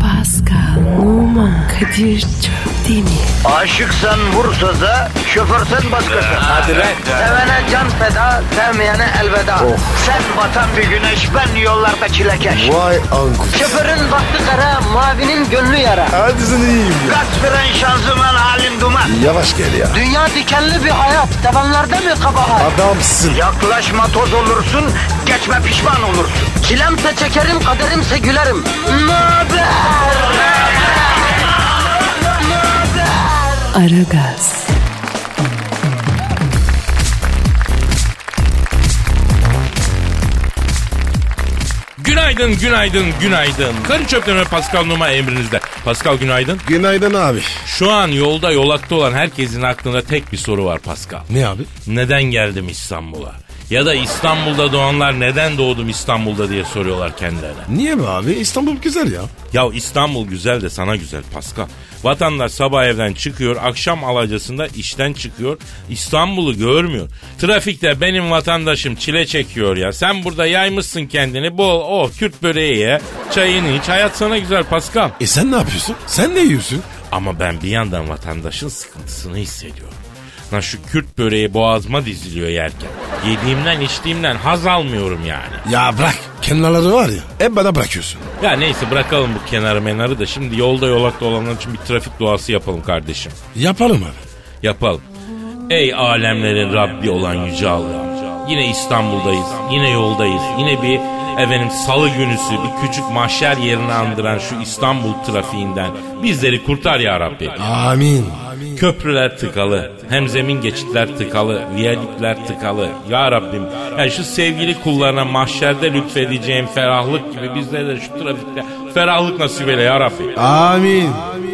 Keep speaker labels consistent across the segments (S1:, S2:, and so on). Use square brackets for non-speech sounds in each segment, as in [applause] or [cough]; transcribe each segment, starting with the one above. S1: Pascal, Oman, Kadir çok değil mi?
S2: Aşıksan vursa da, şoförsen başkasın. Hadi
S3: lan.
S2: Sevene can feda, sevmeyene elveda. Sen batan bir güneş, ben yollarda çilekeş.
S3: Vay anku.
S2: Şoförün baktı kara, mavinin gönlü yara.
S3: Hadi sen iyiyim ya.
S2: Kasperen şanzıman halin duman.
S3: Yavaş gel ya.
S2: Dünya dikenli bir hayat, sevenlerde mi kabahar?
S3: Adamsın.
S2: Yaklaşma toz olursun, geçme pişman olursun. Çilemse çekerim, kaderimse gülerim. Möber!
S1: Aragaz,
S4: Günaydın, günaydın, günaydın. Karı çöplerine Pascal Numa emrinizde. Pascal günaydın.
S3: Günaydın abi.
S4: Şu an yolda yolakta olan herkesin aklında tek bir soru var Pascal.
S3: Ne abi?
S4: Neden geldim İstanbul'a? Ya da İstanbul'da doğanlar neden doğdum İstanbul'da diye soruyorlar kendilerine.
S3: Niye be abi? İstanbul güzel ya.
S4: Ya İstanbul güzel de sana güzel Pascal. Vatandaş sabah evden çıkıyor, akşam alacasında işten çıkıyor. İstanbul'u görmüyor. Trafikte benim vatandaşım çile çekiyor ya. Sen burada yaymışsın kendini. Bol oh Kürt böreği ye. Çayını iç. Hayat sana güzel Pascal.
S3: E sen ne yapıyorsun? Sen ne yiyorsun?
S4: Ama ben bir yandan vatandaşın sıkıntısını hissediyorum. Lan şu Kürt böreği boğazma diziliyor yerken. Yediğimden içtiğimden haz almıyorum yani.
S3: Ya bırak. Kenarları var ya. Hep bana bırakıyorsun.
S4: Ya neyse bırakalım bu kenarı menarı da şimdi yolda yolakta olanlar için bir trafik duası yapalım kardeşim.
S3: Yapalım abi.
S4: Yapalım. Ey alemlerin Rabbi olan Yüce Allah'ım. Yine İstanbul'dayız, yine yoldayız, yine bir efendim salı günüsü bir küçük mahşer yerini andıran şu İstanbul trafiğinden bizleri kurtar ya Rabbi.
S3: Amin.
S4: Köprüler tıkalı, hemzemin geçitler tıkalı, viyalikler tıkalı. Ya Rabbim, yani şu sevgili kullarına mahşerde lütfedeceğim ferahlık gibi bizlere de şu trafikte ferahlık nasip eyle ya Rabbim.
S3: Amin.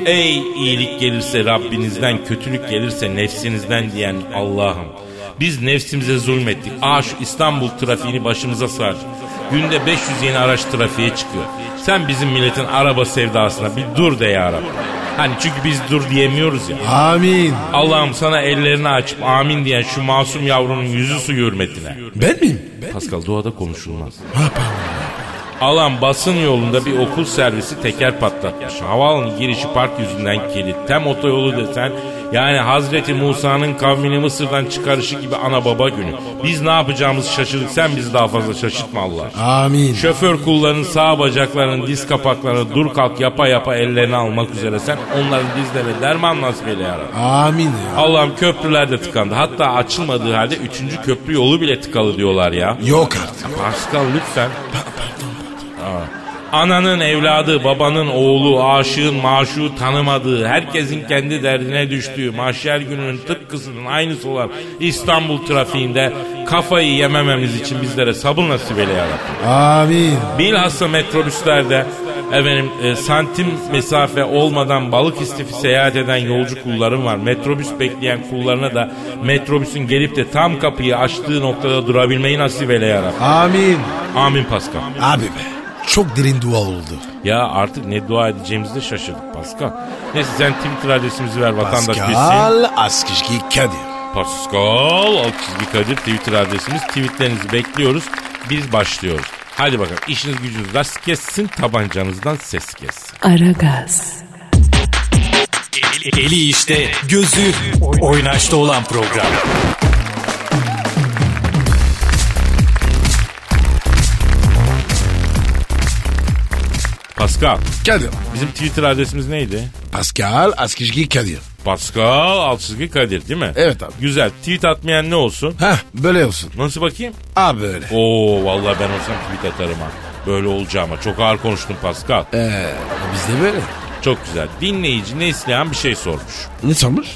S4: Ey iyilik gelirse Rabbinizden, kötülük gelirse nefsinizden diyen Allah'ım. Biz nefsimize zulmettik. Aa şu İstanbul trafiğini başımıza sar. Günde 500 yeni araç trafiğe çıkıyor. Sen bizim milletin araba sevdasına bir dur de ya Rabbi. Hani çünkü biz dur diyemiyoruz ya.
S3: Amin.
S4: Allah'ım sana ellerini açıp amin diyen şu masum yavrunun yüzü su hürmetine.
S3: Ben miyim? Ben...
S4: Pascal doğada konuşulmaz.
S3: Ne yapalım?
S4: Alan basın yolunda bir okul servisi teker patlatmış. Havaalanı girişi park yüzünden kilit. Tem otoyolu desen yani Hazreti Musa'nın kavmini Mısır'dan çıkarışı gibi ana baba günü. Biz ne yapacağımızı şaşırdık sen bizi daha fazla şaşırtma Allah.
S3: Amin.
S4: Şoför kullarının sağ bacaklarının diz kapaklarını dur kalk yapa yapa ellerini almak üzere sen onların dizlerine derman nasip eyle yarabbim.
S3: Amin ya.
S4: Allah'ım köprüler de tıkandı. Hatta açılmadığı halde 3. köprü yolu bile tıkalı diyorlar ya.
S3: Yok artık.
S4: Pascal lütfen. Aa. Ananın evladı, babanın oğlu, aşığın maşuğu tanımadığı, herkesin kendi derdine düştüğü, mahşer gününün tıpkısının aynısı olan İstanbul trafiğinde kafayı yemememiz için bizlere sabır nasip eyle yarabbim.
S3: Amin.
S4: Bilhassa metrobüslerde efendim e, santim mesafe olmadan balık istifi seyahat eden yolcu kullarım var. Metrobüs bekleyen kullarına da metrobüsün gelip de tam kapıyı açtığı noktada durabilmeyi nasip eyle ya Rabbi.
S3: Amin.
S4: Amin Pascal.
S3: Abi be. Çok derin dua oldu.
S4: Ya artık ne dua edeceğimizi de şaşırdık Pascal. Neyse sen Twitter adresimizi ver vatandaş bilsin.
S3: Pascal Askışki Kadir.
S4: Pascal alt çizgi Kadir Twitter adresimiz. Tweetlerinizi bekliyoruz. Biz başlıyoruz. Hadi bakalım işiniz gücünüz rast kessin tabancanızdan ses kessin.
S1: Aragaz,
S5: Eli işte, gözü oynaşta olan program.
S4: Pascal.
S3: Kadir.
S4: Bizim Twitter adresimiz neydi?
S3: Pascal Askışki Kadir.
S4: Pascal Alçızgı Kadir değil mi?
S3: Evet abi.
S4: Güzel. Tweet atmayan ne olsun?
S3: Heh böyle olsun.
S4: Nasıl bakayım?
S3: Abi böyle.
S4: Oo vallahi ben olsam tweet atarım ha. Böyle olacağıma. Çok ağır konuştum Pascal.
S3: Ee, bizde böyle.
S4: Çok güzel. Dinleyici Neslihan bir şey sormuş.
S3: Ne sanmış?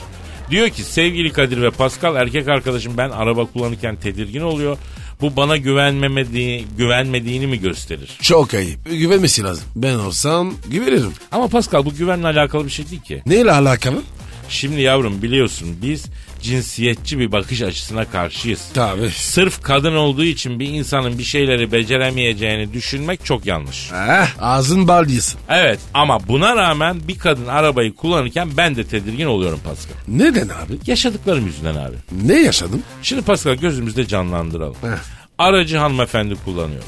S4: Diyor ki sevgili Kadir ve Pascal erkek arkadaşım ben araba kullanırken tedirgin oluyor. Bu bana güvenmemediği, güvenmediğini mi gösterir?
S3: Çok ayıp. Güvenmesi lazım. Ben olsam güvenirim.
S4: Ama Pascal bu güvenle alakalı bir şey değil ki.
S3: Neyle alakalı?
S4: Şimdi yavrum biliyorsun biz cinsiyetçi bir bakış açısına karşıyız.
S3: Tabii.
S4: Sırf kadın olduğu için bir insanın bir şeyleri beceremeyeceğini düşünmek çok yanlış.
S3: Eh, ağzın bal diyorsun.
S4: Evet ama buna rağmen bir kadın arabayı kullanırken ben de tedirgin oluyorum Pascal.
S3: Neden abi?
S4: Yaşadıklarım yüzünden abi.
S3: Ne yaşadın?
S4: Şimdi Pascal gözümüzde canlandıralım.
S3: Heh.
S4: Aracı hanımefendi kullanıyor.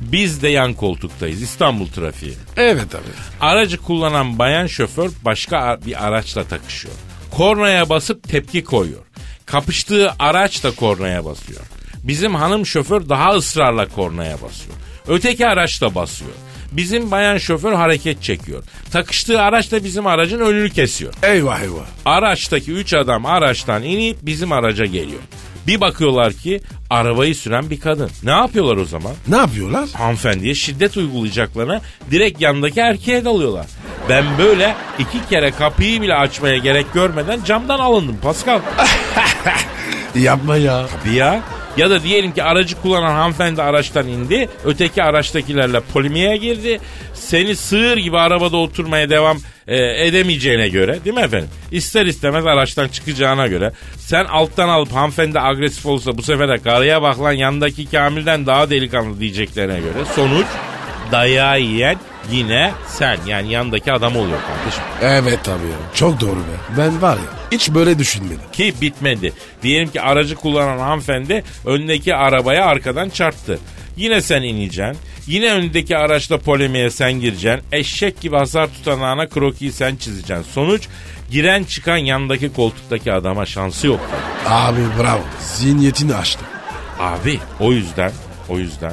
S4: Biz de yan koltuktayız İstanbul trafiği.
S3: Evet abi.
S4: Aracı kullanan bayan şoför başka a- bir araçla takışıyor. Kornaya basıp tepki koyuyor. Kapıştığı araç da kornaya basıyor. Bizim hanım şoför daha ısrarla kornaya basıyor. Öteki araç da basıyor. Bizim bayan şoför hareket çekiyor. Takıştığı araç da bizim aracın önünü kesiyor.
S3: Eyvah eyvah.
S4: Araçtaki 3 adam araçtan inip bizim araca geliyor. Bir bakıyorlar ki arabayı süren bir kadın. Ne yapıyorlar o zaman?
S3: Ne yapıyorlar?
S4: hanımefendiye şiddet uygulayacaklarına direkt yandaki erkeğe dalıyorlar. Ben böyle iki kere kapıyı bile açmaya gerek görmeden camdan alındım Pascal.
S3: Yapma ya.
S4: Tabii ya. Ya da diyelim ki aracı kullanan hanımefendi araçtan indi. Öteki araçtakilerle polimiye girdi. Seni sığır gibi arabada oturmaya devam e, edemeyeceğine göre değil mi efendim? İster istemez araçtan çıkacağına göre. Sen alttan alıp hanımefendi agresif olursa bu sefer de karıya bak lan yandaki Kamil'den daha delikanlı diyeceklerine göre. Sonuç dayağı yiyen yine sen yani yandaki adam oluyor kardeşim.
S3: Evet abi ya. Çok doğru be. Ben var ya hiç böyle düşünmedim.
S4: ki bitmedi. Diyelim ki aracı kullanan hanımefendi öndeki arabaya arkadan çarptı. Yine sen ineceksin. Yine öndeki araçla polemiğe sen gireceksin. Eşek gibi hasar tutanağına krokiyi sen çizeceksin. Sonuç giren çıkan yandaki koltuktaki adama şansı yok.
S3: Abi bravo. Zihniyetini açtı.
S4: Abi o yüzden o yüzden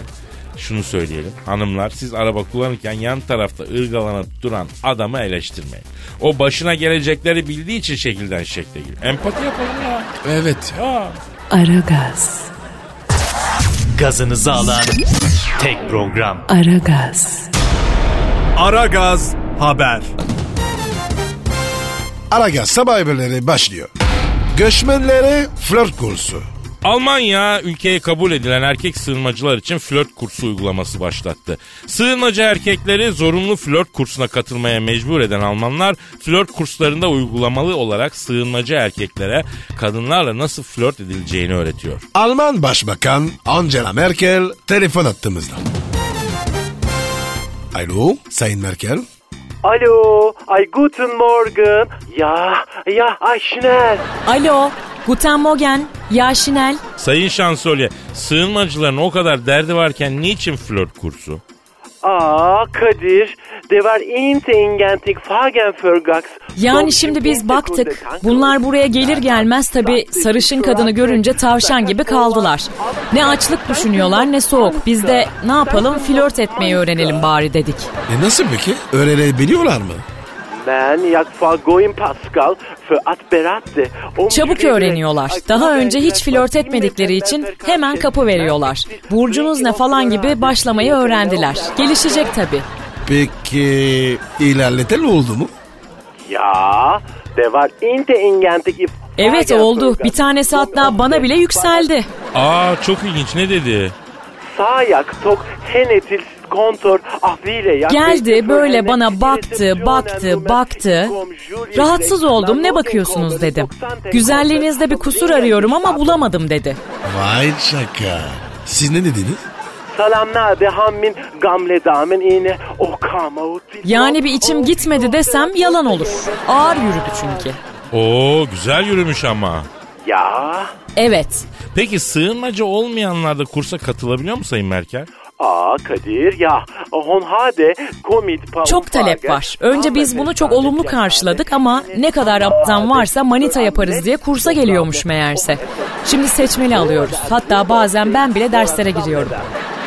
S4: şunu söyleyelim. Hanımlar siz araba kullanırken yan tarafta ırgalanıp duran adamı eleştirmeyin. O başına gelecekleri bildiği için şekilden şekle giriyor. Empati yapalım ya.
S3: Evet ya.
S4: ya.
S1: Aragaz,
S5: Gazınızı alan tek program.
S1: Aragaz,
S5: Ara Gaz Haber.
S3: Aragaz sabah haberleri başlıyor. Göçmenlere flört kursu.
S4: Almanya ülkeye kabul edilen erkek sığınmacılar için flört kursu uygulaması başlattı. Sığınmacı erkekleri zorunlu flört kursuna katılmaya mecbur eden Almanlar flört kurslarında uygulamalı olarak sığınmacı erkeklere kadınlarla nasıl flört edileceğini öğretiyor.
S3: Alman Başbakan Angela Merkel telefon attığımızda. Alo Sayın Merkel.
S6: Alo, ay guten morgen. Ja, ja, ay schnell.
S7: Alo, Guten Morgen, Ya Şinel.
S4: Sayın Şansölye, sığınmacıların o kadar derdi varken niçin flört kursu?
S6: Aa Kadir, de var inte ingenting fagenförgax.
S7: Yani şimdi biz baktık, bunlar buraya gelir gelmez tabi sarışın kadını görünce tavşan gibi kaldılar. Ne açlık düşünüyorlar ne soğuk. Biz de ne yapalım flört etmeyi öğrenelim bari dedik.
S3: E nasıl peki? Öğrenebiliyorlar mı?
S6: Ben yak fagoin Pascal für Um at beratte.
S7: Çabuk öğreniyorlar. Daha önce hiç flört etmedikleri için hemen kapı veriyorlar. Burcunuz ne falan gibi başlamayı öğrendiler. Gelişecek tabi.
S3: Peki ilerleten oldu mu?
S6: Ya, de var inte ingenting if
S7: Evet oldu. Bir tanesi hatta bana bile yükseldi.
S4: Aa çok ilginç ne dedi?
S6: Sağ yak tok henetil kontor afile yak.
S7: Geldi böyle bana baktı, baktı, baktı. Rahatsız oldum ne bakıyorsunuz dedim. Güzelliğinizde bir kusur arıyorum ama bulamadım dedi.
S3: Vay şaka. Siz ne dediniz?
S6: Salam nade hammin gamle damen iğne o kama o dil-
S7: Yani bir içim gitmedi desem yalan olur. Ağır yürüdü çünkü.
S4: Oo güzel yürümüş ama.
S6: Ya
S7: Evet.
S4: Peki sığınmacı olmayanlar da kursa katılabiliyor mu Sayın Merkel?
S6: aa Kadir ya honhade komit pa-
S7: Çok talep var. Önce biz bunu çok olumlu karşıladık ama ne kadar aptan varsa manita yaparız diye kursa geliyormuş meğerse. Şimdi seçmeli alıyoruz. Hatta bazen ben bile derslere giriyorum.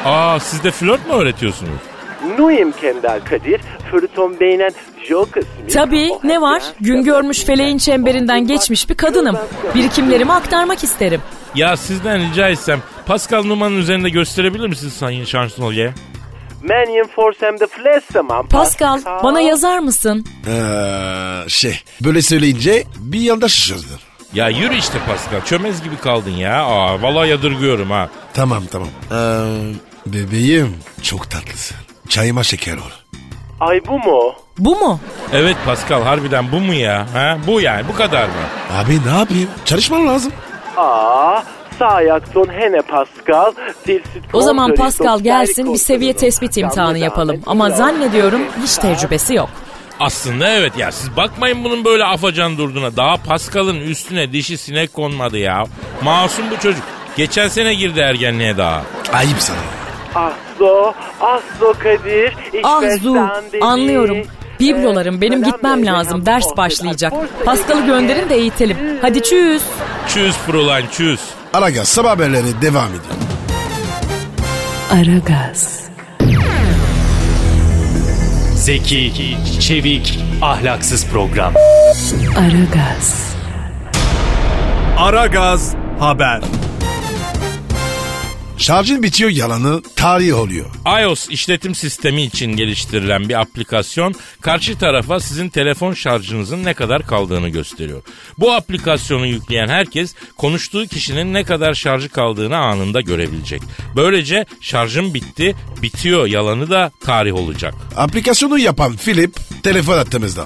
S4: Aa siz de flört mü öğretiyorsunuz?
S6: Nuyim kendal Kadir Fırton beynen jokes
S7: Tabii ne var? Gün görmüş feleğin çemberinden geçmiş bir kadınım. Birikimlerimi aktarmak isterim.
S4: Ya sizden rica etsem Pascal numaranın üzerinde gösterebilir misiniz Sayın Şansölye?
S6: Menin forsem de flesemam
S7: Pascal bana yazar mısın?
S3: Ee, şey böyle söyleyince bir yanda şaşırdı.
S4: Ya yürü işte Pascal çömez gibi kaldın ya. Aa vallahi yadırgıyorum ha.
S3: Tamam tamam. Ee, bebeğim çok tatlısın. Çayıma şeker ol.
S6: Ay bu mu?
S7: Bu mu?
S4: Evet Pascal harbiden bu mu ya? Ha? Bu yani bu kadar mı?
S3: Abi ne yapayım? Çalışman lazım.
S6: Aa sağ ayakton hene Pascal dil süt
S7: O zaman
S6: kontrolü,
S7: Pascal
S6: sosyal
S7: gelsin bir
S6: kontrolü.
S7: seviye tespit imtihanı yapalım. Ama zannediyorum hiç tecrübesi yok.
S4: Aslında evet ya siz bakmayın bunun böyle afacan durduğuna. Daha Pascal'ın üstüne dişi sinek konmadı ya. Masum bu çocuk. Geçen sene girdi ergenliğe daha.
S3: Ayıp sana.
S6: Aslo, Aslo Kadir.
S7: Ah
S6: işveren
S7: Zu,
S6: beni.
S7: anlıyorum. Biblolarım, benim
S6: Selam
S7: gitmem
S6: ve
S7: lazım.
S6: selam
S7: Ders
S6: olsun.
S7: başlayacak.
S6: Bursa'ya
S7: Pastalı gönderin de eğitelim. Hadi çüz.
S4: Çüz Fräulein çüz.
S3: Aragaz sabah haberleri devam ediyor.
S1: Aragaz,
S5: Zeki, çevik, ahlaksız program.
S1: Aragaz,
S5: Ara Gaz Haber.
S3: Şarjın bitiyor yalanı tarih oluyor.
S4: iOS işletim sistemi için geliştirilen bir aplikasyon karşı tarafa sizin telefon şarjınızın ne kadar kaldığını gösteriyor. Bu aplikasyonu yükleyen herkes konuştuğu kişinin ne kadar şarjı kaldığını anında görebilecek. Böylece şarjım bitti, bitiyor yalanı da tarih olacak.
S3: Aplikasyonu yapan Philip telefon attığımızda.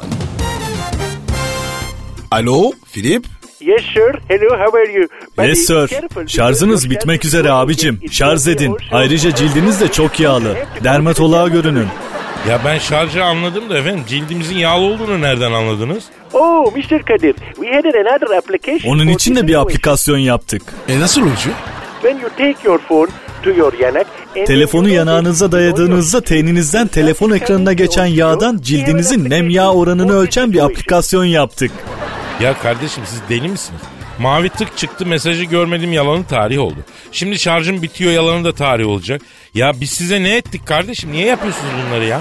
S3: Alo Philip?
S6: Yes sir, hello how are you? But
S8: Yes
S6: be
S8: sir.
S6: careful,
S8: Şarjınız
S6: because
S8: bitmek
S6: your
S8: üzere
S6: cell
S8: abicim.
S6: is
S8: Şarj
S6: very
S8: edin.
S6: old.
S8: Ayrıca cildiniz de çok yağlı. Dermatoloğa görünün.
S4: Ya ben şarjı anladım da efendim cildimizin yağlı olduğunu nereden anladınız?
S6: Oh Mr. Kadir, we had another application.
S8: Onun
S6: for
S8: için
S6: this
S8: de bir
S6: situation.
S8: aplikasyon yaptık.
S3: E nasıl oluyor?
S6: When you take your phone to your yanak and
S8: Telefonu
S6: you know
S8: yanağınıza
S6: that-
S8: dayadığınızda teyninizden telefon ekranına geçen yağdan cildinizin nem yağ oranını ölçen bir aplikasyon yaptık.
S4: Ya kardeşim siz deli misiniz? Mavi tık çıktı mesajı görmedim yalanı tarih oldu. Şimdi şarjım bitiyor yalanı da tarih olacak. Ya biz size ne ettik kardeşim? Niye yapıyorsunuz bunları ya?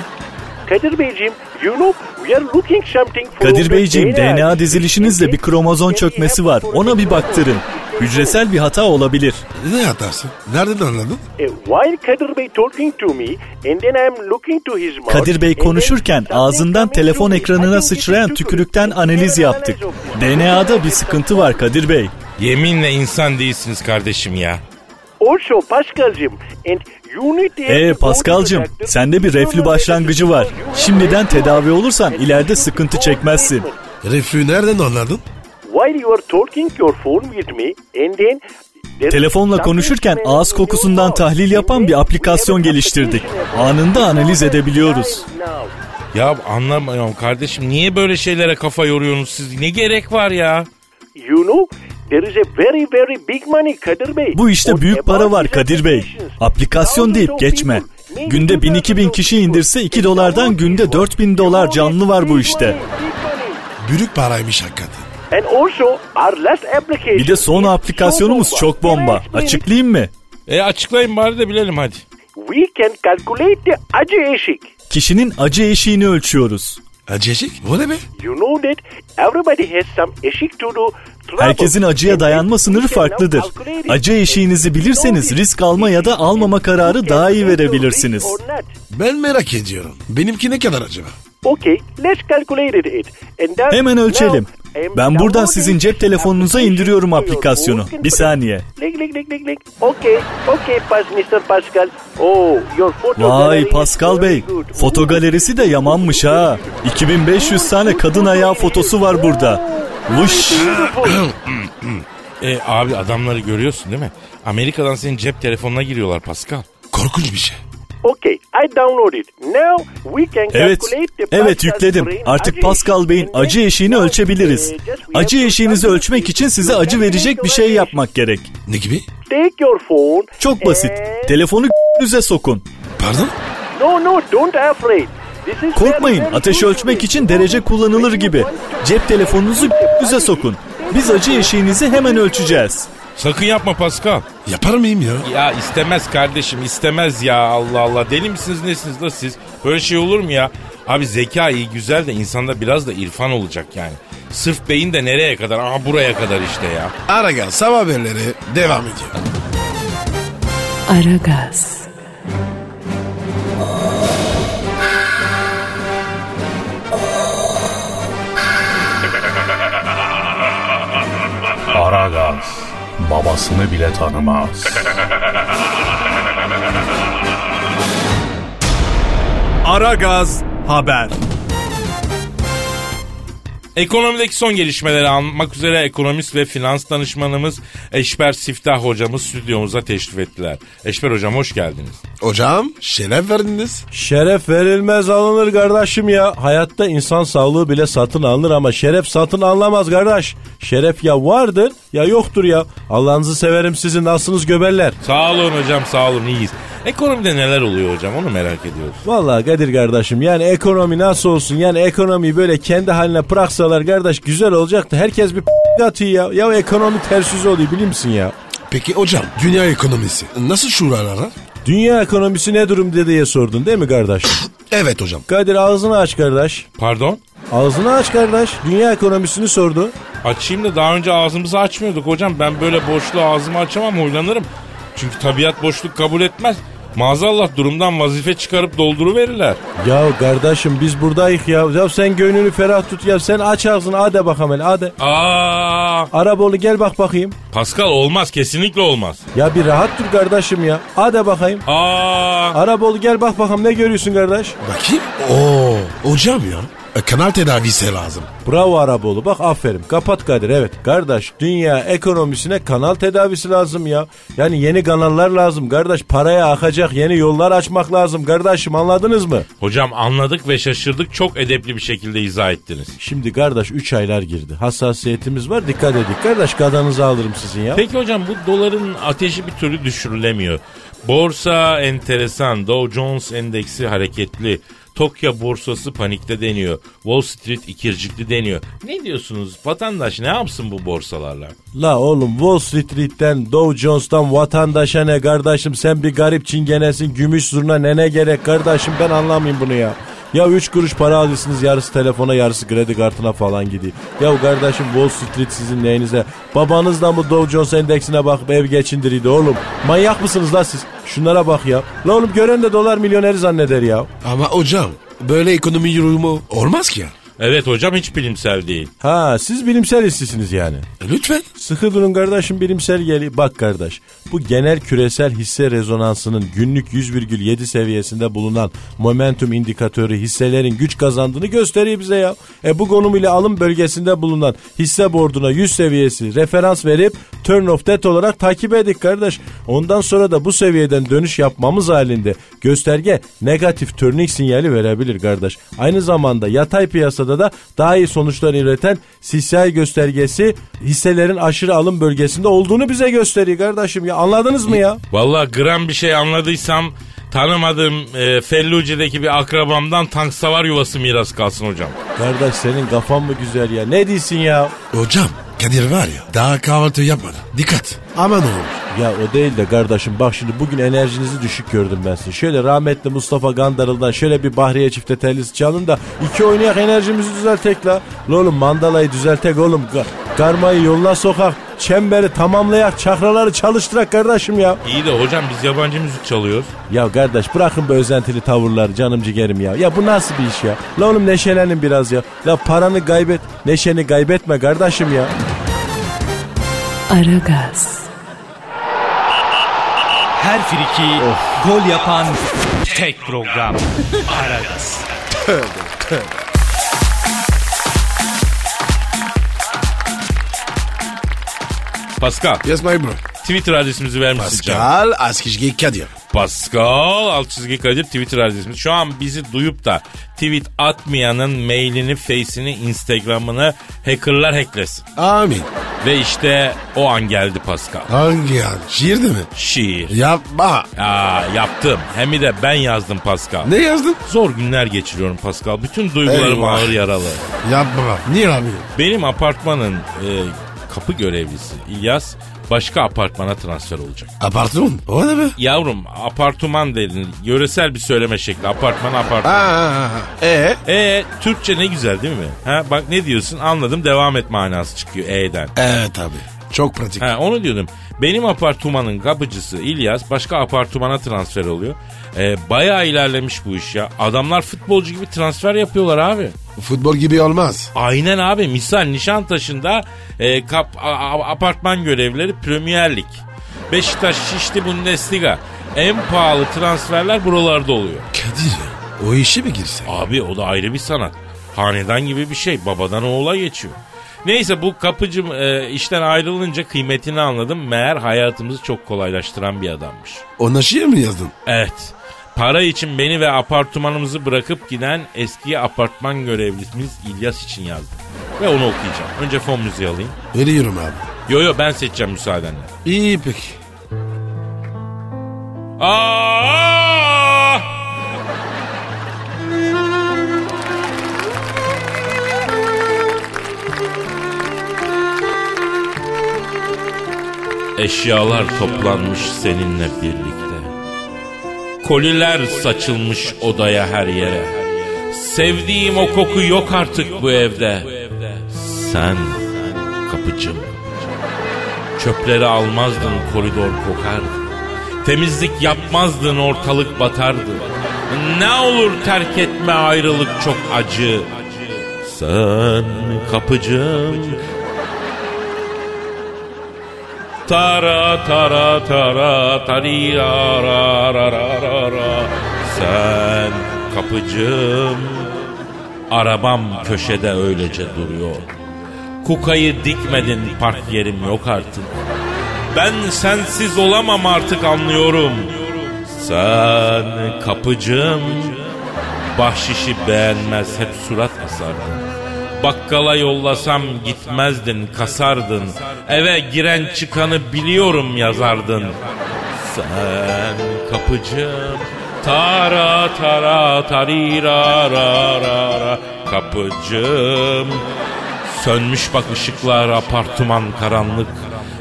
S6: Kadir Beyciğim, you know we are looking something for
S8: Kadir
S6: the
S8: Beyciğim DNA dizilişinizde bir kromozon çökmesi var. Ona bir baktırın. Hücresel bir hata olabilir.
S3: Ne hatası? Nereden anladın?
S6: E, While Kadir Bey talking to me and then I am looking to his mouth.
S8: Kadir Bey
S6: and then
S8: konuşurken
S6: something
S8: ağzından
S6: coming to
S8: telefon
S6: me. I
S8: ekranına
S6: think it is
S8: sıçrayan
S6: sugar.
S8: tükürükten
S6: It's
S8: analiz
S6: never
S8: yaptık.
S6: analyze of me.
S8: DNA'da bir sıkıntı var Kadir Bey.
S4: Yeminle insan değilsiniz kardeşim ya.
S6: Also Pascal'cim and you need to
S8: Ee Paskal'cım sende bir reflü başlangıcı var. Şimdiden tedavi olursan ileride sıkıntı çekmezsin.
S3: Reflü nereden anladın?
S6: While you are talking your phone with me and then
S8: Telefonla konuşurken ağız kokusundan tahlil yapan bir aplikasyon geliştirdik. Anında analiz edebiliyoruz.
S4: Ya anlamıyorum kardeşim niye böyle şeylere kafa yoruyorsunuz siz? Ne gerek var ya?
S6: You know there is a very very big money Kadir Bey.
S8: Bu işte
S6: On
S8: büyük para
S6: about
S8: var
S6: these
S8: Kadir Bey.
S6: applications.
S8: Aplikasyon deyip geçme. Günde 1000-2000 kişi indirse 2 dolardan günde 4000 dolar canlı var bu işte.
S3: Büyük paraymış hakikaten.
S6: And also our last application
S8: Bir de son
S6: is
S8: aplikasyonumuz
S6: so
S8: çok bomba.
S6: Can I explain it?
S8: Açıklayayım mı?
S4: E açıklayın bari de bilelim hadi.
S6: We can calculate the acı eşik.
S8: Kişinin acı eşiğini ölçüyoruz.
S3: Acecik o ne be?
S6: You know that everybody has some eşik to do. trouble.
S8: Herkesin acıya dayanma sınırı farklıdır. Acı eşiğinizi bilirseniz risk alma ya da almama kararı daha iyi verebilirsiniz.
S3: Ben merak ediyorum. Benimki ne kadar acaba?
S6: Okay, let's calculate it. And then-
S8: Hemen ölçelim.
S6: Now, I'm
S8: Ben buradan sizin
S6: downloading
S8: cep telefonunuza indiriyorum
S6: application to your
S8: aplikasyonu.
S6: phone.
S8: Bir saniye.
S6: Lik lik lik lik lik. Okay, okay pas, Mr. Pascal. Oh, your photo gallery
S8: Vay
S6: is
S8: Pascal
S6: very
S8: Bey,
S6: good.
S8: foto galerisi de yamanmış ha. 2500 tane kadın ayağı fotosu var burada. Vuş.
S4: E abi adamları görüyorsun değil mi? Amerika'dan senin cep telefonuna giriyorlar Pascal.
S3: Korkunç bir şey.
S6: [coughs] Okay, I download it. Now we can
S8: Evet,
S6: calculate the
S8: evet
S6: Pascal's
S8: yükledim.
S6: brain
S8: Artık
S6: acı
S8: Pascal Bey'in
S6: eşiği.
S8: acı eşiğini
S6: Now,
S8: ölçebiliriz.
S6: eh, just we have
S8: Acı
S6: to
S8: eşiğinizi
S6: calculate
S8: ölçmek için size
S6: your
S8: acı verecek bir şey
S6: calculation.
S8: yapmak gerek.
S3: Ne gibi?
S6: Take your phone.
S8: Çok basit.
S6: and-
S8: Telefonu yüze sokun.
S3: Pardon?
S6: No no, don't afraid. This is
S8: Korkmayın.
S6: very, very
S8: Ateş
S6: good
S8: ölçmek
S6: to
S8: için
S6: me.
S8: derece kullanılır gibi. Cep telefonunuzu yüze sokun. Biz acı eşiğinizi hemen ölçeceğiz.
S4: Sakın yapma Pascal.
S3: Yapar mıyım ya?
S4: Ya istemez kardeşim istemez ya Allah Allah. Deli misiniz nesiniz la siz? Böyle şey olur mu ya? Abi zeka iyi güzel de insanda biraz da irfan olacak yani. Sırf beyin de nereye kadar? Aha buraya kadar işte ya.
S3: Aragaz sabah haberleri devam ediyor.
S1: Aragaz,
S9: Aragaz babasını bile tanımaz.
S5: Ara Gaz Haber.
S4: Ekonomideki son gelişmeleri almak üzere ekonomist ve finans danışmanımız Eşber Siftah hocamız stüdyomuza teşrif ettiler. Eşber hocam hoş geldiniz.
S3: Hocam şeref verdiniz.
S10: Şeref verilmez alınır kardeşim ya. Hayatta insan sağlığı bile satın alınır ama şeref satın alınamaz kardeş. Şeref ya vardır ya yoktur ya. Allah'ınızı severim sizi nasılsınız göberler.
S4: Sağ olun hocam sağ olun iyiyiz. Ekonomide neler oluyor hocam onu merak ediyoruz.
S10: Vallahi Kadir kardeşim yani ekonomi nasıl olsun yani ekonomiyi böyle kendi haline bıraksalar kardeş güzel olacaktı. Herkes bir atıyor ya. Ya ekonomi tersiz oluyor biliyor musun ya?
S3: Peki hocam dünya ekonomisi nasıl şuralara?
S10: Dünya ekonomisi ne durumda diye sordun değil mi kardeş?
S3: Evet hocam.
S10: Kadir ağzını aç kardeş.
S4: Pardon?
S10: Ağzını aç kardeş. Dünya ekonomisini sordu.
S4: Açayım da daha önce ağzımızı açmıyorduk hocam. Ben böyle boşluğu ağzımı açamam huylanırım. Çünkü tabiat boşluk kabul etmez. Maazallah durumdan vazife çıkarıp dolduru verirler.
S10: Ya kardeşim biz buradayız ya. Ya sen gönlünü ferah tut ya. Sen aç ağzını hadi bakalım hele hadi.
S4: Aa,
S10: Araboğlu gel bak bakayım.
S4: Pascal olmaz kesinlikle olmaz.
S10: Ya bir rahat dur kardeşim ya. Hadi bakayım.
S4: Aa,
S10: Araboğlu gel bak bakalım ne görüyorsun kardeş?
S3: Bakayım. Oo hocam ya. E, kanal tedavisi lazım.
S10: Bravo Araboğlu bak aferin. Kapat Kadir evet. Kardeş dünya ekonomisine kanal tedavisi lazım ya. Yani yeni kanallar lazım kardeş. Paraya akacak yeni yollar açmak lazım kardeşim anladınız mı?
S4: hocam anladık ve şaşırdık çok edepli bir şekilde izah ettiniz.
S10: Şimdi kardeş 3 aylar girdi. Hassasiyetimiz var dikkat edin. Kardeş gadanızı alırım sizin ya.
S4: Peki hocam bu doların ateşi bir türlü düşürülemiyor. Borsa enteresan. Dow Jones endeksi hareketli. Tokyo borsası panikte deniyor. Wall Street ikircikli deniyor. Ne diyorsunuz? Vatandaş ne yapsın bu borsalarla?
S10: La oğlum Wall Street'ten Dow Jones'tan vatandaşa ne kardeşim sen bir garip çingenesin gümüş zurna ne ne gerek kardeşim ben anlamayayım bunu ya. Ya 3 kuruş para alıyorsunuz yarısı telefona yarısı kredi kartına falan gidiyor. Ya kardeşim Wall Street sizin neyinize? Babanız da mı Dow Jones endeksine bakıp ev geçindiriydi oğlum? Manyak mısınız la siz? Şunlara bak ya. La oğlum gören de dolar milyoneri zanneder ya.
S3: Ama hocam böyle ekonomi yorumu olmaz ki ya.
S4: Evet hocam hiç bilimsel değil.
S10: Ha siz bilimsel işsisiniz yani.
S3: E, lütfen.
S10: Sıkı durun kardeşim bilimsel geli. Bak kardeş bu genel küresel hisse rezonansının günlük 100,7 seviyesinde bulunan momentum indikatörü hisselerin güç kazandığını gösteriyor bize ya. E bu konum ile alım bölgesinde bulunan hisse borduna 100 seviyesi referans verip turn of debt olarak takip edik kardeş. Ondan sonra da bu seviyeden dönüş yapmamız halinde gösterge negatif turning sinyali verebilir kardeş. Aynı zamanda yatay piyasada da daha iyi sonuçlar üreten CCI göstergesi hisselerin aşırı alım bölgesinde olduğunu bize gösteriyor kardeşim ya anladınız mı ya?
S4: Vallahi gram bir şey anladıysam tanımadığım e, Felluce'deki bir akrabamdan tank savar yuvası miras kalsın hocam.
S10: Kardeş senin kafan mı güzel ya ne diyorsun ya?
S3: Hocam Kadir var ya daha kahvaltı yapmadı. Dikkat. Aman olur.
S10: Ya o değil de kardeşim bak şimdi bugün enerjinizi düşük gördüm ben sizi. Şöyle rahmetli Mustafa Gandarıl'dan şöyle bir Bahriye çifte tellisi çalın da iki oynayak enerjimizi düzeltek la. La oğlum mandalayı düzeltek oğlum. Ga- Karmayı yoluna sokak. Çemberi tamamlayak. Çakraları çalıştırak kardeşim ya.
S4: İyi de hocam biz yabancı müzik çalıyoruz.
S10: Ya kardeş bırakın bu özentili tavırları canım ciğerim ya. Ya bu nasıl bir iş ya? La oğlum neşelenin biraz ya. La paranı kaybet. Neşeni kaybetme kardeşim ya.
S1: Aragaz,
S5: Her friki gol yapan tek program.
S4: Pascal
S3: Yes my bro.
S4: Twitter adresimizi vermişsin canım.
S3: Pascal Askizgi Kadir.
S4: Pascal alt çizgi Kadir Twitter adresimiz. Şu an bizi duyup da tweet atmayanın mailini, face'ini, Instagram'ını hackerlar hacklesin.
S3: Amin.
S4: Ve işte o an geldi Pascal.
S3: Hangi an? Şiirdi mi?
S4: Şiir.
S3: Yapma.
S4: Aa, yaptım. Hem de ben yazdım Pascal.
S3: Ne yazdın?
S4: Zor günler geçiriyorum Pascal. Bütün duygularım
S3: Eyvah.
S4: ağır yaralı.
S3: Yapma. Niye abi?
S4: Benim apartmanın e, kapı görevlisi İlyas başka apartmana transfer olacak.
S3: Apartman. O ne be?
S4: Yavrum apartman dedin. Yöresel bir söyleme şekli. Apartman apartman.
S3: Aa, e
S4: E Türkçe ne güzel değil mi? Ha bak ne diyorsun anladım devam et manası çıkıyor E'den.
S3: Evet abi. Çok pratik.
S4: Ha onu diyordum. Benim apartmanın kapıcısı İlyas başka apartmana transfer oluyor. E, bayağı ilerlemiş bu iş ya. Adamlar futbolcu gibi transfer yapıyorlar abi.
S3: Futbol gibi olmaz.
S4: Aynen abi. Misal Nişantaşı'nda e, kap, a- a- apartman görevleri Premier Lig. Beşiktaş Şişli Bundesliga. En pahalı transferler buralarda oluyor.
S3: Kadir ya, o işe mi girsek?
S4: Abi o da ayrı bir sanat. Hanedan gibi bir şey. Babadan oğula geçiyor. Neyse bu kapıcım e, işten ayrılınca kıymetini anladım. Meğer hayatımızı çok kolaylaştıran bir adammış.
S3: Ona şiir mi yazdın?
S4: Evet. Para için beni ve apartmanımızı bırakıp giden eski apartman görevlisimiz İlyas için yazdım. Ve onu okuyacağım. Önce fon müziği alayım.
S3: Veriyorum abi.
S4: Yo yo ben seçeceğim müsaadenle.
S3: İyi peki.
S4: Aa! Eşyalar toplanmış seninle birlikte. Koliler saçılmış odaya her yere. Sevdiğim o koku yok artık bu evde. Sen kapıcım. Çöpleri almazdın koridor kokardı. Temizlik yapmazdın ortalık batardı. Ne olur terk etme ayrılık çok acı. Sen kapıcım. Tara tara tara tari ara ara ara ara. Sen kapıcım. Arabam köşede öylece duruyor. Kukayı dikmedin park yerim yok artık. Ben sensiz olamam artık anlıyorum. Sen kapıcım. Bahşişi beğenmez hep surat asardın. Bakkala yollasam gitmezdin kasardın. Eve giren çıkanı biliyorum yazardın. Sen kapıcım. Tara tara tarira ra ra ra kapıcım. Sönmüş bak ışıklar apartman karanlık.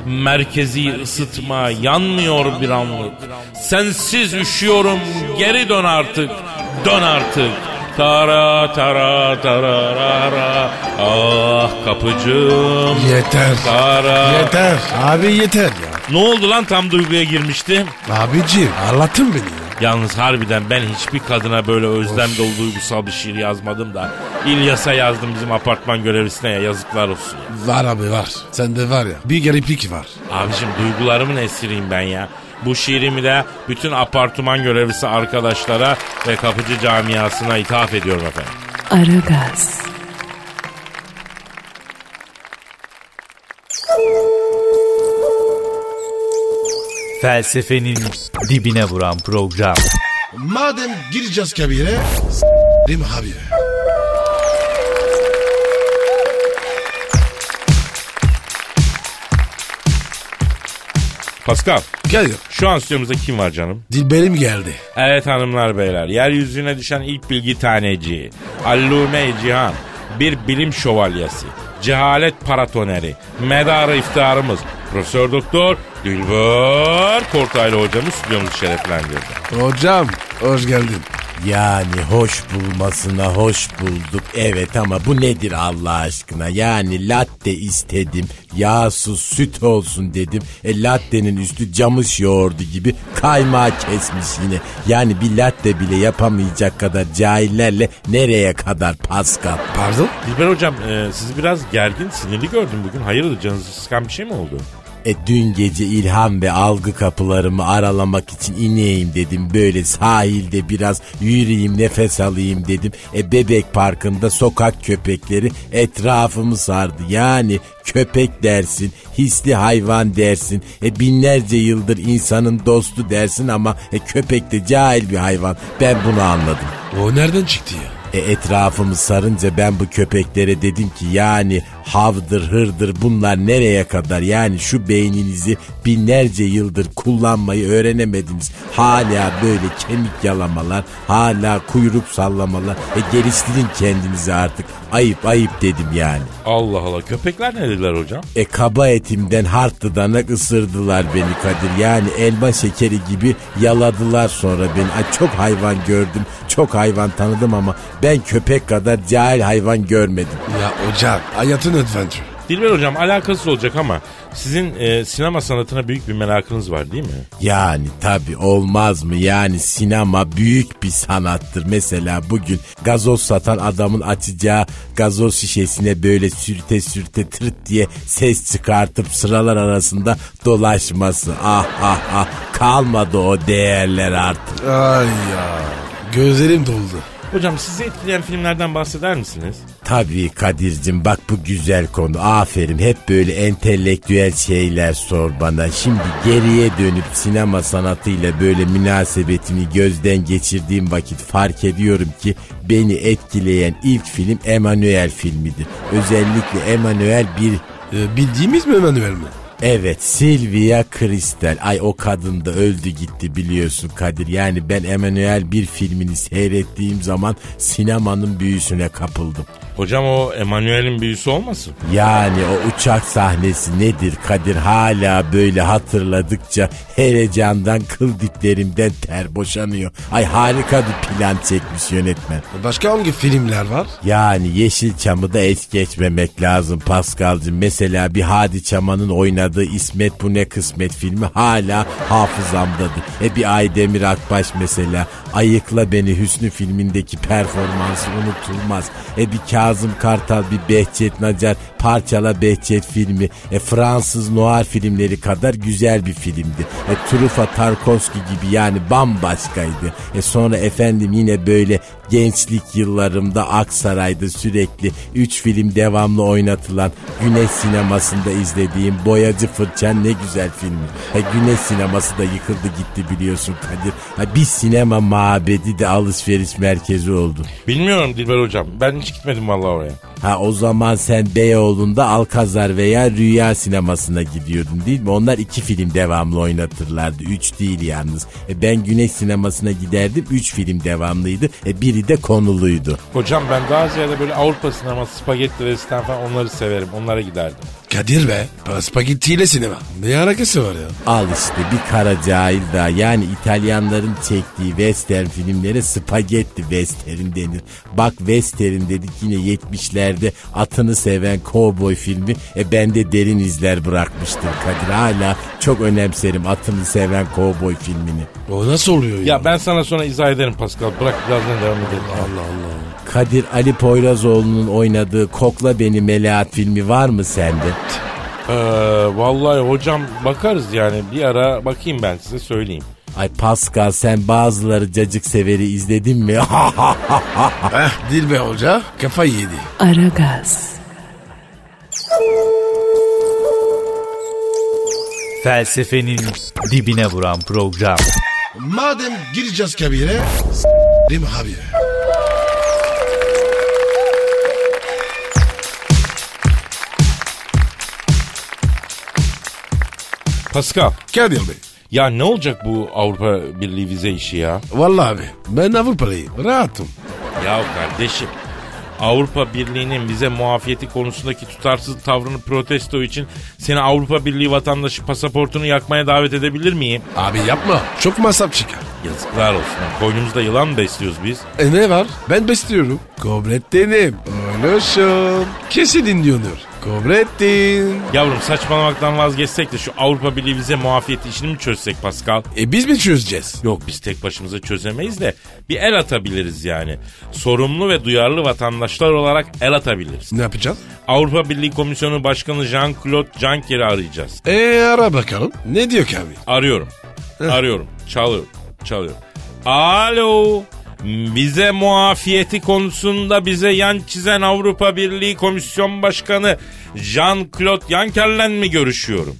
S4: Merkezi ısıtma yanmıyor bir anlık. Sensiz üşüyorum geri dön artık. Dön artık. Tara tara tara ra ra. Ah kapıcım.
S3: Yeter.
S4: Tara.
S3: Yeter. Abi yeter ya.
S4: Ne oldu lan tam duyguya girmişti.
S3: Abiciğim anlatın beni ya.
S4: Yalnız harbiden ben hiçbir kadına böyle özlem dolu duygusal bir şiir yazmadım da. İlyas'a yazdım bizim apartman görevlisine ya yazıklar olsun.
S3: Var abi var. Sende var ya. Bir gariplik var.
S4: Abicim duygularımın esiriyim ben ya. Bu şiirimi de bütün apartman görevlisi arkadaşlara ve kapıcı camiasına ithaf ediyorum efendim.
S1: Aragaz.
S5: Felsefenin dibine vuran program.
S3: Madem gireceğiz kabire. Rim abi.
S4: Pascal
S3: Gel ya.
S4: şu an stüdyomuzda kim var canım?
S3: Dilberim geldi.
S4: Evet hanımlar beyler yeryüzüne düşen ilk bilgi taneci Allume Cihan bir bilim şövalyesi cehalet paratoneri medarı iftiharımız Profesör Doktor Dilber Kortaylı hocamız stüdyomuzu şereflendirdi.
S3: Hocam hoş geldin.
S11: Yani hoş bulmasına hoş bulduk. Evet ama bu nedir Allah aşkına? Yani latte istedim. Yağsız süt olsun dedim. E lattenin üstü camış yoğurdu gibi kaymağı kesmiş yine. Yani bir latte bile yapamayacak kadar cahillerle nereye kadar Pascal?
S3: Pardon?
S4: Dilber hocam e, sizi biraz gergin sinirli gördüm bugün hayırdır canınızı sıkan bir şey mi oldu?
S11: E dün gece ilham ve algı kapılarımı aralamak için ineyim dedim. Böyle sahilde biraz yürüyeyim nefes alayım dedim. E bebek parkında sokak köpekleri etrafımı sardı. Yani köpek dersin, hisli hayvan dersin. E binlerce yıldır insanın dostu dersin ama e, köpek de cahil bir hayvan. Ben bunu anladım.
S3: O nereden çıktı ya?
S11: E etrafımı sarınca ben bu köpeklere dedim ki yani havdır hırdır bunlar nereye kadar yani şu beyninizi binlerce yıldır kullanmayı öğrenemediniz. Hala böyle kemik yalamalar hala kuyruk sallamalar e geliştirin kendinizi artık ayıp ayıp dedim yani.
S4: Allah Allah köpekler ne dediler hocam?
S11: E kaba etimden hard dudanak ısırdılar beni Kadir. Yani elma şekeri gibi yaladılar sonra beni. Ay, çok hayvan gördüm, çok hayvan tanıdım ama ben köpek kadar cahil hayvan görmedim.
S3: Ya hocam hayatın adventure.
S4: Dilber hocam alakasız olacak ama sizin e, sinema sanatına büyük bir merakınız var değil mi?
S11: Yani tabi olmaz mı? Yani sinema büyük bir sanattır. Mesela bugün gazoz satan adamın açacağı gazoz şişesine böyle sürte sürte tırt diye ses çıkartıp sıralar arasında dolaşması. Ah ah ah kalmadı o değerler artık.
S3: Ay ya. Gözlerim doldu.
S4: Hocam sizi etkileyen filmlerden bahseder misiniz?
S11: Tabii Kadir'cim bak bu güzel konu. Aferin hep böyle entelektüel şeyler sor bana. Şimdi geriye dönüp sinema sanatıyla böyle münasebetini gözden geçirdiğim vakit fark ediyorum ki beni etkileyen ilk film Emanuel filmidir. Özellikle Emanuel bir...
S3: Ee, bildiğimiz mi Emanuel mi?
S11: Evet Silvia Kristel. Ay o kadın da öldü gitti biliyorsun Kadir. Yani ben Emanuel bir filmini seyrettiğim zaman sinemanın büyüsüne kapıldım.
S4: Hocam o Emanuel'in büyüsü olmasın?
S11: Yani o uçak sahnesi nedir Kadir hala böyle hatırladıkça heyecandan kıl diplerimden ter boşanıyor. Ay harika bir plan çekmiş yönetmen.
S3: Başka hangi filmler var?
S11: Yani Yeşilçam'ı da es geçmemek lazım Paskal'cığım. Mesela bir Hadi Çaman'ın oynadığı İsmet Bu Ne Kısmet filmi hala hafızamdadır. E bir Aydemir Akbaş mesela Ayıkla Beni Hüsnü filmindeki performansı unutulmaz. E bir Kazım Kartal, bir Behçet Nacar, Parçala Behçet filmi, e, Fransız noir filmleri kadar güzel bir filmdi. E, Trufa Tarkovski gibi yani bambaşkaydı. E, sonra efendim yine böyle gençlik yıllarımda Aksaray'da sürekli 3 film devamlı oynatılan Güneş sinemasında izlediğim Boyacı Fırçan ne güzel filmi. E, güneş sineması da yıkıldı gitti biliyorsun Kadir. E, bir sinema mabedi de alışveriş merkezi oldu.
S4: Bilmiyorum Dilber hocam. Ben hiç gitmedim vallahi oraya.
S11: Ha o zaman sen Beyoğlu'nda Alkazar veya Rüya sinemasına gidiyordun değil mi? Onlar iki film devamlı oynatırlardı. Üç değil yalnız. E, ben Güneş sinemasına giderdim. Üç film devamlıydı. E, biri de konuluydu.
S4: Hocam ben daha ziyade böyle Avrupa sineması, spagetti restoran falan onları severim. Onlara giderdim.
S3: Kadir be. Spagettiyle sinema. Ne alakası var ya?
S11: Al işte bir kara cahil daha. Yani İtalyanların çektiği western filmlere spagetti western denir. Bak western dedik yine 70'lerde atını seven cowboy filmi e, bende derin izler bırakmıştır Kadir. Hala çok önemserim atını seven cowboy filmini.
S3: O nasıl oluyor ya?
S4: Ya ben sana sonra izah ederim Pascal. Bırak birazdan devam edelim.
S3: Allah Allah.
S11: Kadir Ali Poyrazoğlu'nun oynadığı Kokla Beni Melahat filmi var mı sende?
S4: Ee, vallahi hocam bakarız yani. Bir ara bakayım ben size söyleyeyim.
S11: Ay Pascal sen bazıları cacık severi izledin mi? [laughs]
S3: Heh, Dilbe Hoca kafayı yedi.
S1: Aragaz,
S5: Felsefenin dibine vuran program.
S3: Madem gireceğiz kabire, s***im abi.
S4: Pascal
S3: Kadir Bey.
S4: ya ne olacak bu Avrupa Birliği vize işi ya?
S3: Vallahi abi ben Avrupalıyım. Rahatım.
S4: Ya kardeşim Avrupa Birliği'nin vize muafiyeti konusundaki tutarsız tavrını protesto için seni Avrupa Birliği vatandaşı pasaportunu yakmaya davet edebilir miyim?
S3: Abi yapma. Çok masraf çıkar.
S4: Yazıklar olsun. Koynumuzda yılan mı besliyoruz biz?
S3: E ne var? Ben besliyorum. Kobrettin'im. Oğluşum. Kesin dinliyordur. Kobrettin.
S4: Yavrum saçmalamaktan vazgeçsek de şu Avrupa Birliği vize muafiyeti işini mi çözsek Pascal?
S3: E biz mi çözeceğiz?
S4: Yok biz tek başımıza çözemeyiz de bir el atabiliriz yani. Sorumlu ve duyarlı vatandaşlar olarak el atabiliriz.
S3: Ne yapacağız?
S4: Avrupa Birliği Komisyonu Başkanı Jean-Claude Juncker'i arayacağız.
S3: E ara bakalım. Ne diyor ki abi?
S4: Arıyorum. Arıyorum. Çalıyorum. Çalıyorum. Alo. Bize muafiyeti konusunda bize yan çizen Avrupa Birliği Komisyon Başkanı Jean-Claude Juncker'le mi görüşüyorum?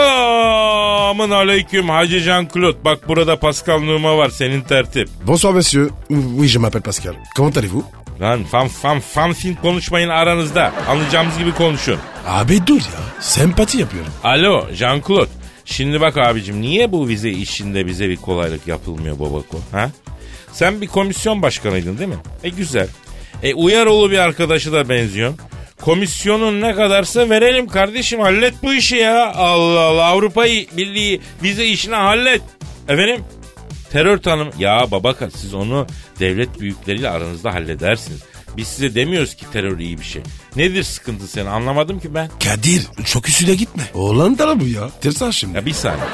S4: Selamın aleyküm Hacı Jean-Claude. Bak burada Pascal Numa var senin tertip.
S3: Bonsoir monsieur. Oui je m'appelle Pascal. Comment allez-vous?
S4: Lan fan fan fan fin konuşmayın aranızda. Anlayacağımız gibi konuşun.
S3: Abi dur ya. Sempati yapıyorum.
S4: Alo Jean-Claude. Şimdi bak abicim niye bu vize işinde bize bir kolaylık yapılmıyor babako? Ha? Sen bir komisyon başkanıydın değil mi? E güzel. E Uyaroğlu bir arkadaşı da benziyor. Komisyonun ne kadarsa verelim kardeşim hallet bu işi ya. Allah Allah Avrupa Birliği vize işini hallet. Efendim? Terör tanım. Ya babaka siz onu devlet büyükleriyle aranızda halledersiniz. Biz size demiyoruz ki terör iyi bir şey. Nedir sıkıntı senin anlamadım ki ben.
S3: Kadir çok üstüne gitme. Hollanda bu ya. Tersan şimdi.
S4: Ya bir saniye.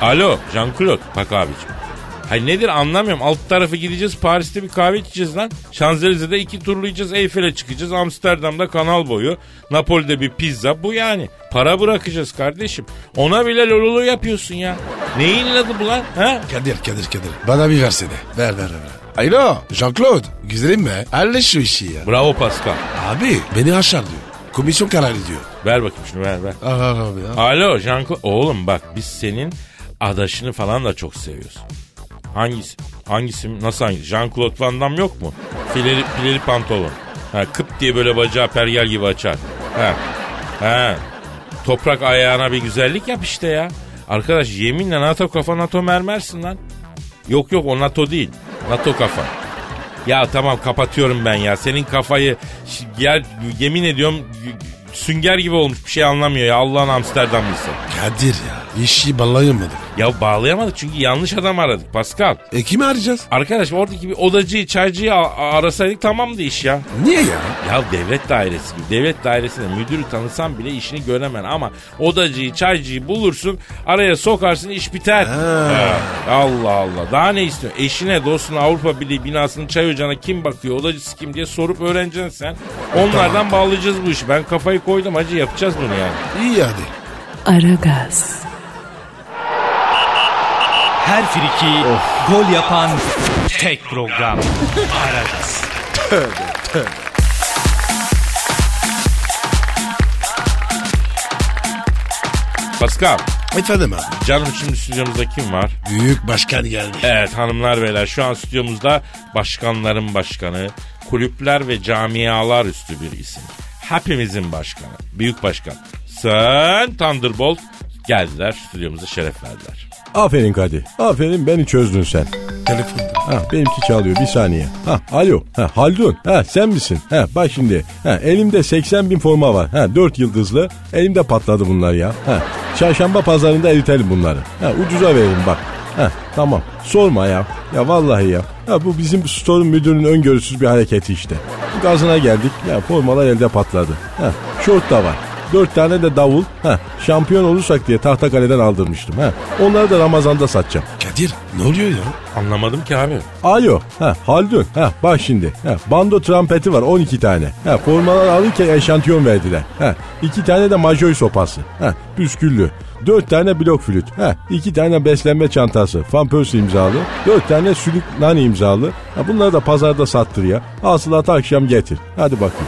S4: Alo Jean-Claude bak abicim. Hayır nedir anlamıyorum. Alt tarafı gideceğiz Paris'te bir kahve içeceğiz lan. Şanzelize'de iki turlayacağız Eyfel'e çıkacağız. Amsterdam'da kanal boyu. Napoli'de bir pizza bu yani. Para bırakacağız kardeşim. Ona bile lololu yapıyorsun ya. Neyin adı bu lan? Ha?
S3: Kadir Kadir Kadir. Bana bir versene. Ver ver ver. Alo Jean-Claude güzelim be. Halle şu işi ya.
S4: Bravo Pascal.
S3: Abi beni aşar diyor. Komisyon kararı diyor.
S4: Ver bakayım şunu ver ver.
S3: Al al abi ah. ya.
S4: Alo Jean-Claude. Oğlum bak biz senin adaşını falan da çok seviyoruz. Hangisi? Hangisi? Nasıl hangisi? Jean-Claude Van Damme yok mu? Fileli, fileli pantolon. Ha, kıp diye böyle bacağı pergel gibi açar. Ha. Ha. Toprak ayağına bir güzellik yap işte ya. Arkadaş yeminle NATO kafa NATO mermersin lan. Yok yok o NATO değil. NATO kafa. Ya tamam kapatıyorum ben ya. Senin kafayı ş- ya, yemin ediyorum y- sünger gibi olmuş bir şey anlamıyor ya. Allah'ın Amsterdamlısı.
S3: Ah, Kadir ya işi ballayamadık.
S4: Ya bağlayamadık çünkü yanlış adam aradık Pascal.
S3: E kimi arayacağız?
S4: Arkadaş oradaki bir odacıyı çaycıyı a- a- arasaydık tamamdı iş ya.
S3: Niye ya?
S4: Ya devlet dairesi gibi. Devlet dairesinde müdürü tanısan bile işini göremen ama odacıyı çaycıyı bulursun araya sokarsın iş biter. Ha, Allah Allah daha ne istiyor? Eşine dostuna Avrupa Birliği binasının çay ocağına kim bakıyor odacısı kim diye sorup öğreneceksin sen. Onlardan bağlayacağız bu işi. Ben kafayı koydum hacı yapacağız bunu yani.
S3: İyi hadi.
S1: Aragaz,
S5: Her friki gol yapan tek program. Aragaz.
S4: Pascal
S3: Efendim abi.
S4: canım şimdi stüdyomuzda kim var?
S3: Büyük başkan geldi.
S4: Evet hanımlar beyler şu an stüdyomuzda başkanların başkanı, kulüpler ve camialar üstü bir isim. Hepimizin başkanı, büyük başkan. Sen Thunderbolt geldiler stüdyomuza şeref verdiler.
S10: Aferin Kadir. Aferin beni çözdün sen.
S3: Telefonda.
S10: Ha, benimki çalıyor bir saniye. Ha, alo. Ha, Haldun. Ha, sen misin? Ha, bak şimdi. Ha, elimde 80 bin forma var. Ha, 4 yıldızlı. Elimde patladı bunlar ya. Ha, çarşamba pazarında eritelim bunları. Ha, ucuza verin bak. Ha, tamam. Sorma ya. Ya vallahi ya. Ha, bu bizim store'un müdürünün öngörüsüz bir hareketi işte. Gazına geldik. Ya formalar elde patladı. Ha, şort da var. Dört tane de davul. Ha, şampiyon olursak diye Tahtakale'den aldırmıştım. Ha, onları da Ramazan'da satacağım.
S3: Kadir ne oluyor ya?
S4: Anlamadım ki abi.
S10: Alo. Ha, Haldun. Ha, bak şimdi. Ha, bando trompeti var 12 tane. Ha, formalar alırken eşantiyon verdiler. Ha, iki tane de majoy sopası. Ha, püsküllü. Dört tane blok flüt. Ha, iki tane beslenme çantası. Pampers imzalı. Dört tane sülük nane imzalı. Ha, bunları da pazarda sattır ya. Asılatı akşam getir. Hadi bakayım.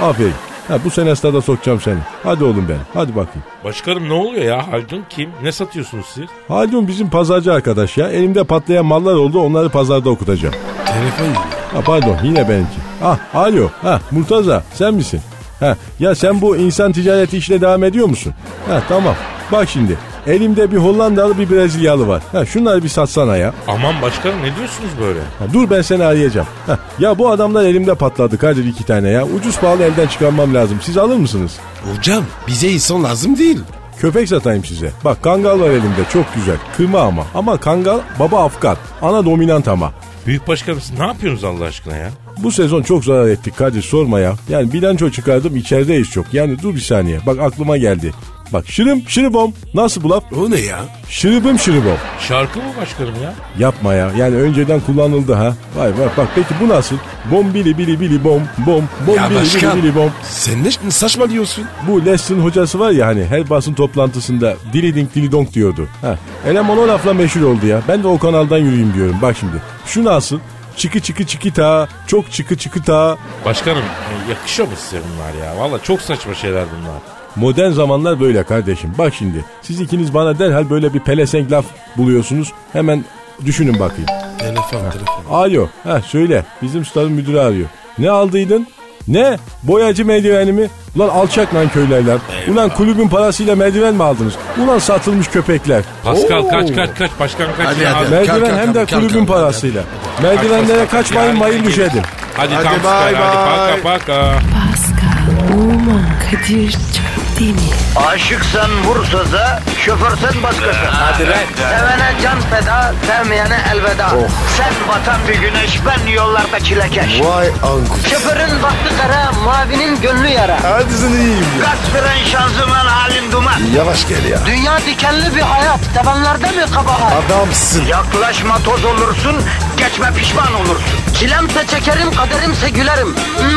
S10: Ha, aferin. Ha, bu sene stada sokacağım seni. Hadi oğlum benim. Hadi bakayım.
S4: Başkanım ne oluyor ya? Haldun kim? Ne satıyorsunuz siz?
S10: Haldun bizim pazarcı arkadaş ya. Elimde patlayan mallar oldu. Onları pazarda okutacağım.
S3: Telefon ya.
S10: Ha pardon yine benimki. Ah alo. Ha Murtaza sen misin? Ha ya sen bu insan ticareti işine devam ediyor musun? Ha tamam. Bak şimdi elimde bir Hollandalı bir Brezilyalı var. Ha şunları bir satsana ya.
S4: Aman başkanım ne diyorsunuz böyle?
S10: Ha, dur ben seni arayacağım. Ha, ya bu adamlar elimde patladı Kadir iki tane ya. Ucuz pahalı elden çıkarmam lazım. Siz alır mısınız?
S3: Hocam bize insan lazım değil.
S10: Köpek satayım size. Bak kangal var elimde çok güzel. Kırma ama. Ama kangal baba Afgan. Ana dominant ama.
S4: Büyük başkanım siz ne yapıyorsunuz Allah aşkına ya?
S10: Bu sezon çok zarar ettik Kadir sorma ya. Yani bilanço çıkardım içerideyiz çok. Yani dur bir saniye. Bak aklıma geldi. Bak şırım şırıbom. Nasıl bu laf?
S3: O ne ya?
S10: Şırıbım şırıbom.
S4: Şarkı mı başkanım ya?
S10: Yapma ya. Yani önceden kullanıldı ha. Vay vay bak peki bu nasıl? Bom bili bili bili bom bom bom
S3: Ya
S10: bili
S3: başkan.
S10: bili bili bom.
S3: Sen ne saçmalıyorsun?
S10: Bu Les'in hocası var ya hani her basın toplantısında dili dink dili donk diyordu. Ha. Eleman o lafla meşhur oldu ya. Ben de o kanaldan yürüyeyim diyorum. Bak şimdi. Şu nasıl? Çıkı çıkı çıkı ta. Çok çıkı çıkı ta.
S4: Başkanım e, yakışıyor mu size bunlar ya? Valla çok saçma şeyler bunlar.
S10: Modern zamanlar böyle kardeşim. Bak şimdi siz ikiniz bana derhal böyle bir pelesenk laf buluyorsunuz. Hemen düşünün bakayım.
S3: Telefon telefon.
S10: Alo. Ha söyle. Bizim stadın müdürü arıyor. Ne aldıydın? Ne? Boyacı merdiveni mi? Ulan alçak lan köylerler. Ulan kulübün parasıyla merdiven mi aldınız? Ulan satılmış köpekler.
S4: Pascal
S10: Oo.
S4: kaç kaç kaç başkan kaç
S3: Hadi,
S4: ya.
S3: hadi.
S10: Merdiven
S3: Kalk, kalk,
S10: hem de
S3: kalk, kalk,
S10: kulübün
S3: kalk, kalk.
S10: parasıyla. Merdivenlere kaçmayın mayın düşedin.
S4: Hadi,
S3: Hadi
S4: tam
S3: bay
S4: süper, hadi
S3: bay.
S4: paka paka.
S1: Pascal, Oman, Kadir çok değil mi?
S2: Aşıksan vursa da şoförsen başkasın. Hadi lan. Oh. Sevene can feda, sevmeyene elveda. Sen batan bir güneş, ben yollarda çilekeş.
S3: Vay anku.
S2: Şoförün baktı kara, mavinin gönlü yara.
S3: Hadi sen iyiyim ya.
S2: Kasperen şanzıman halin duman.
S3: Yavaş gel ya.
S2: Dünya dikenli bir hayat, sevenlerde mi kabahar?
S3: Adamsın.
S2: Yaklaşma toz olursun, geçme pişman olursun. Çilemse çekerim, kaderimse gülerim.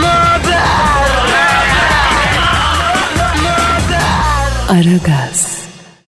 S2: Möber!
S1: Aragaz.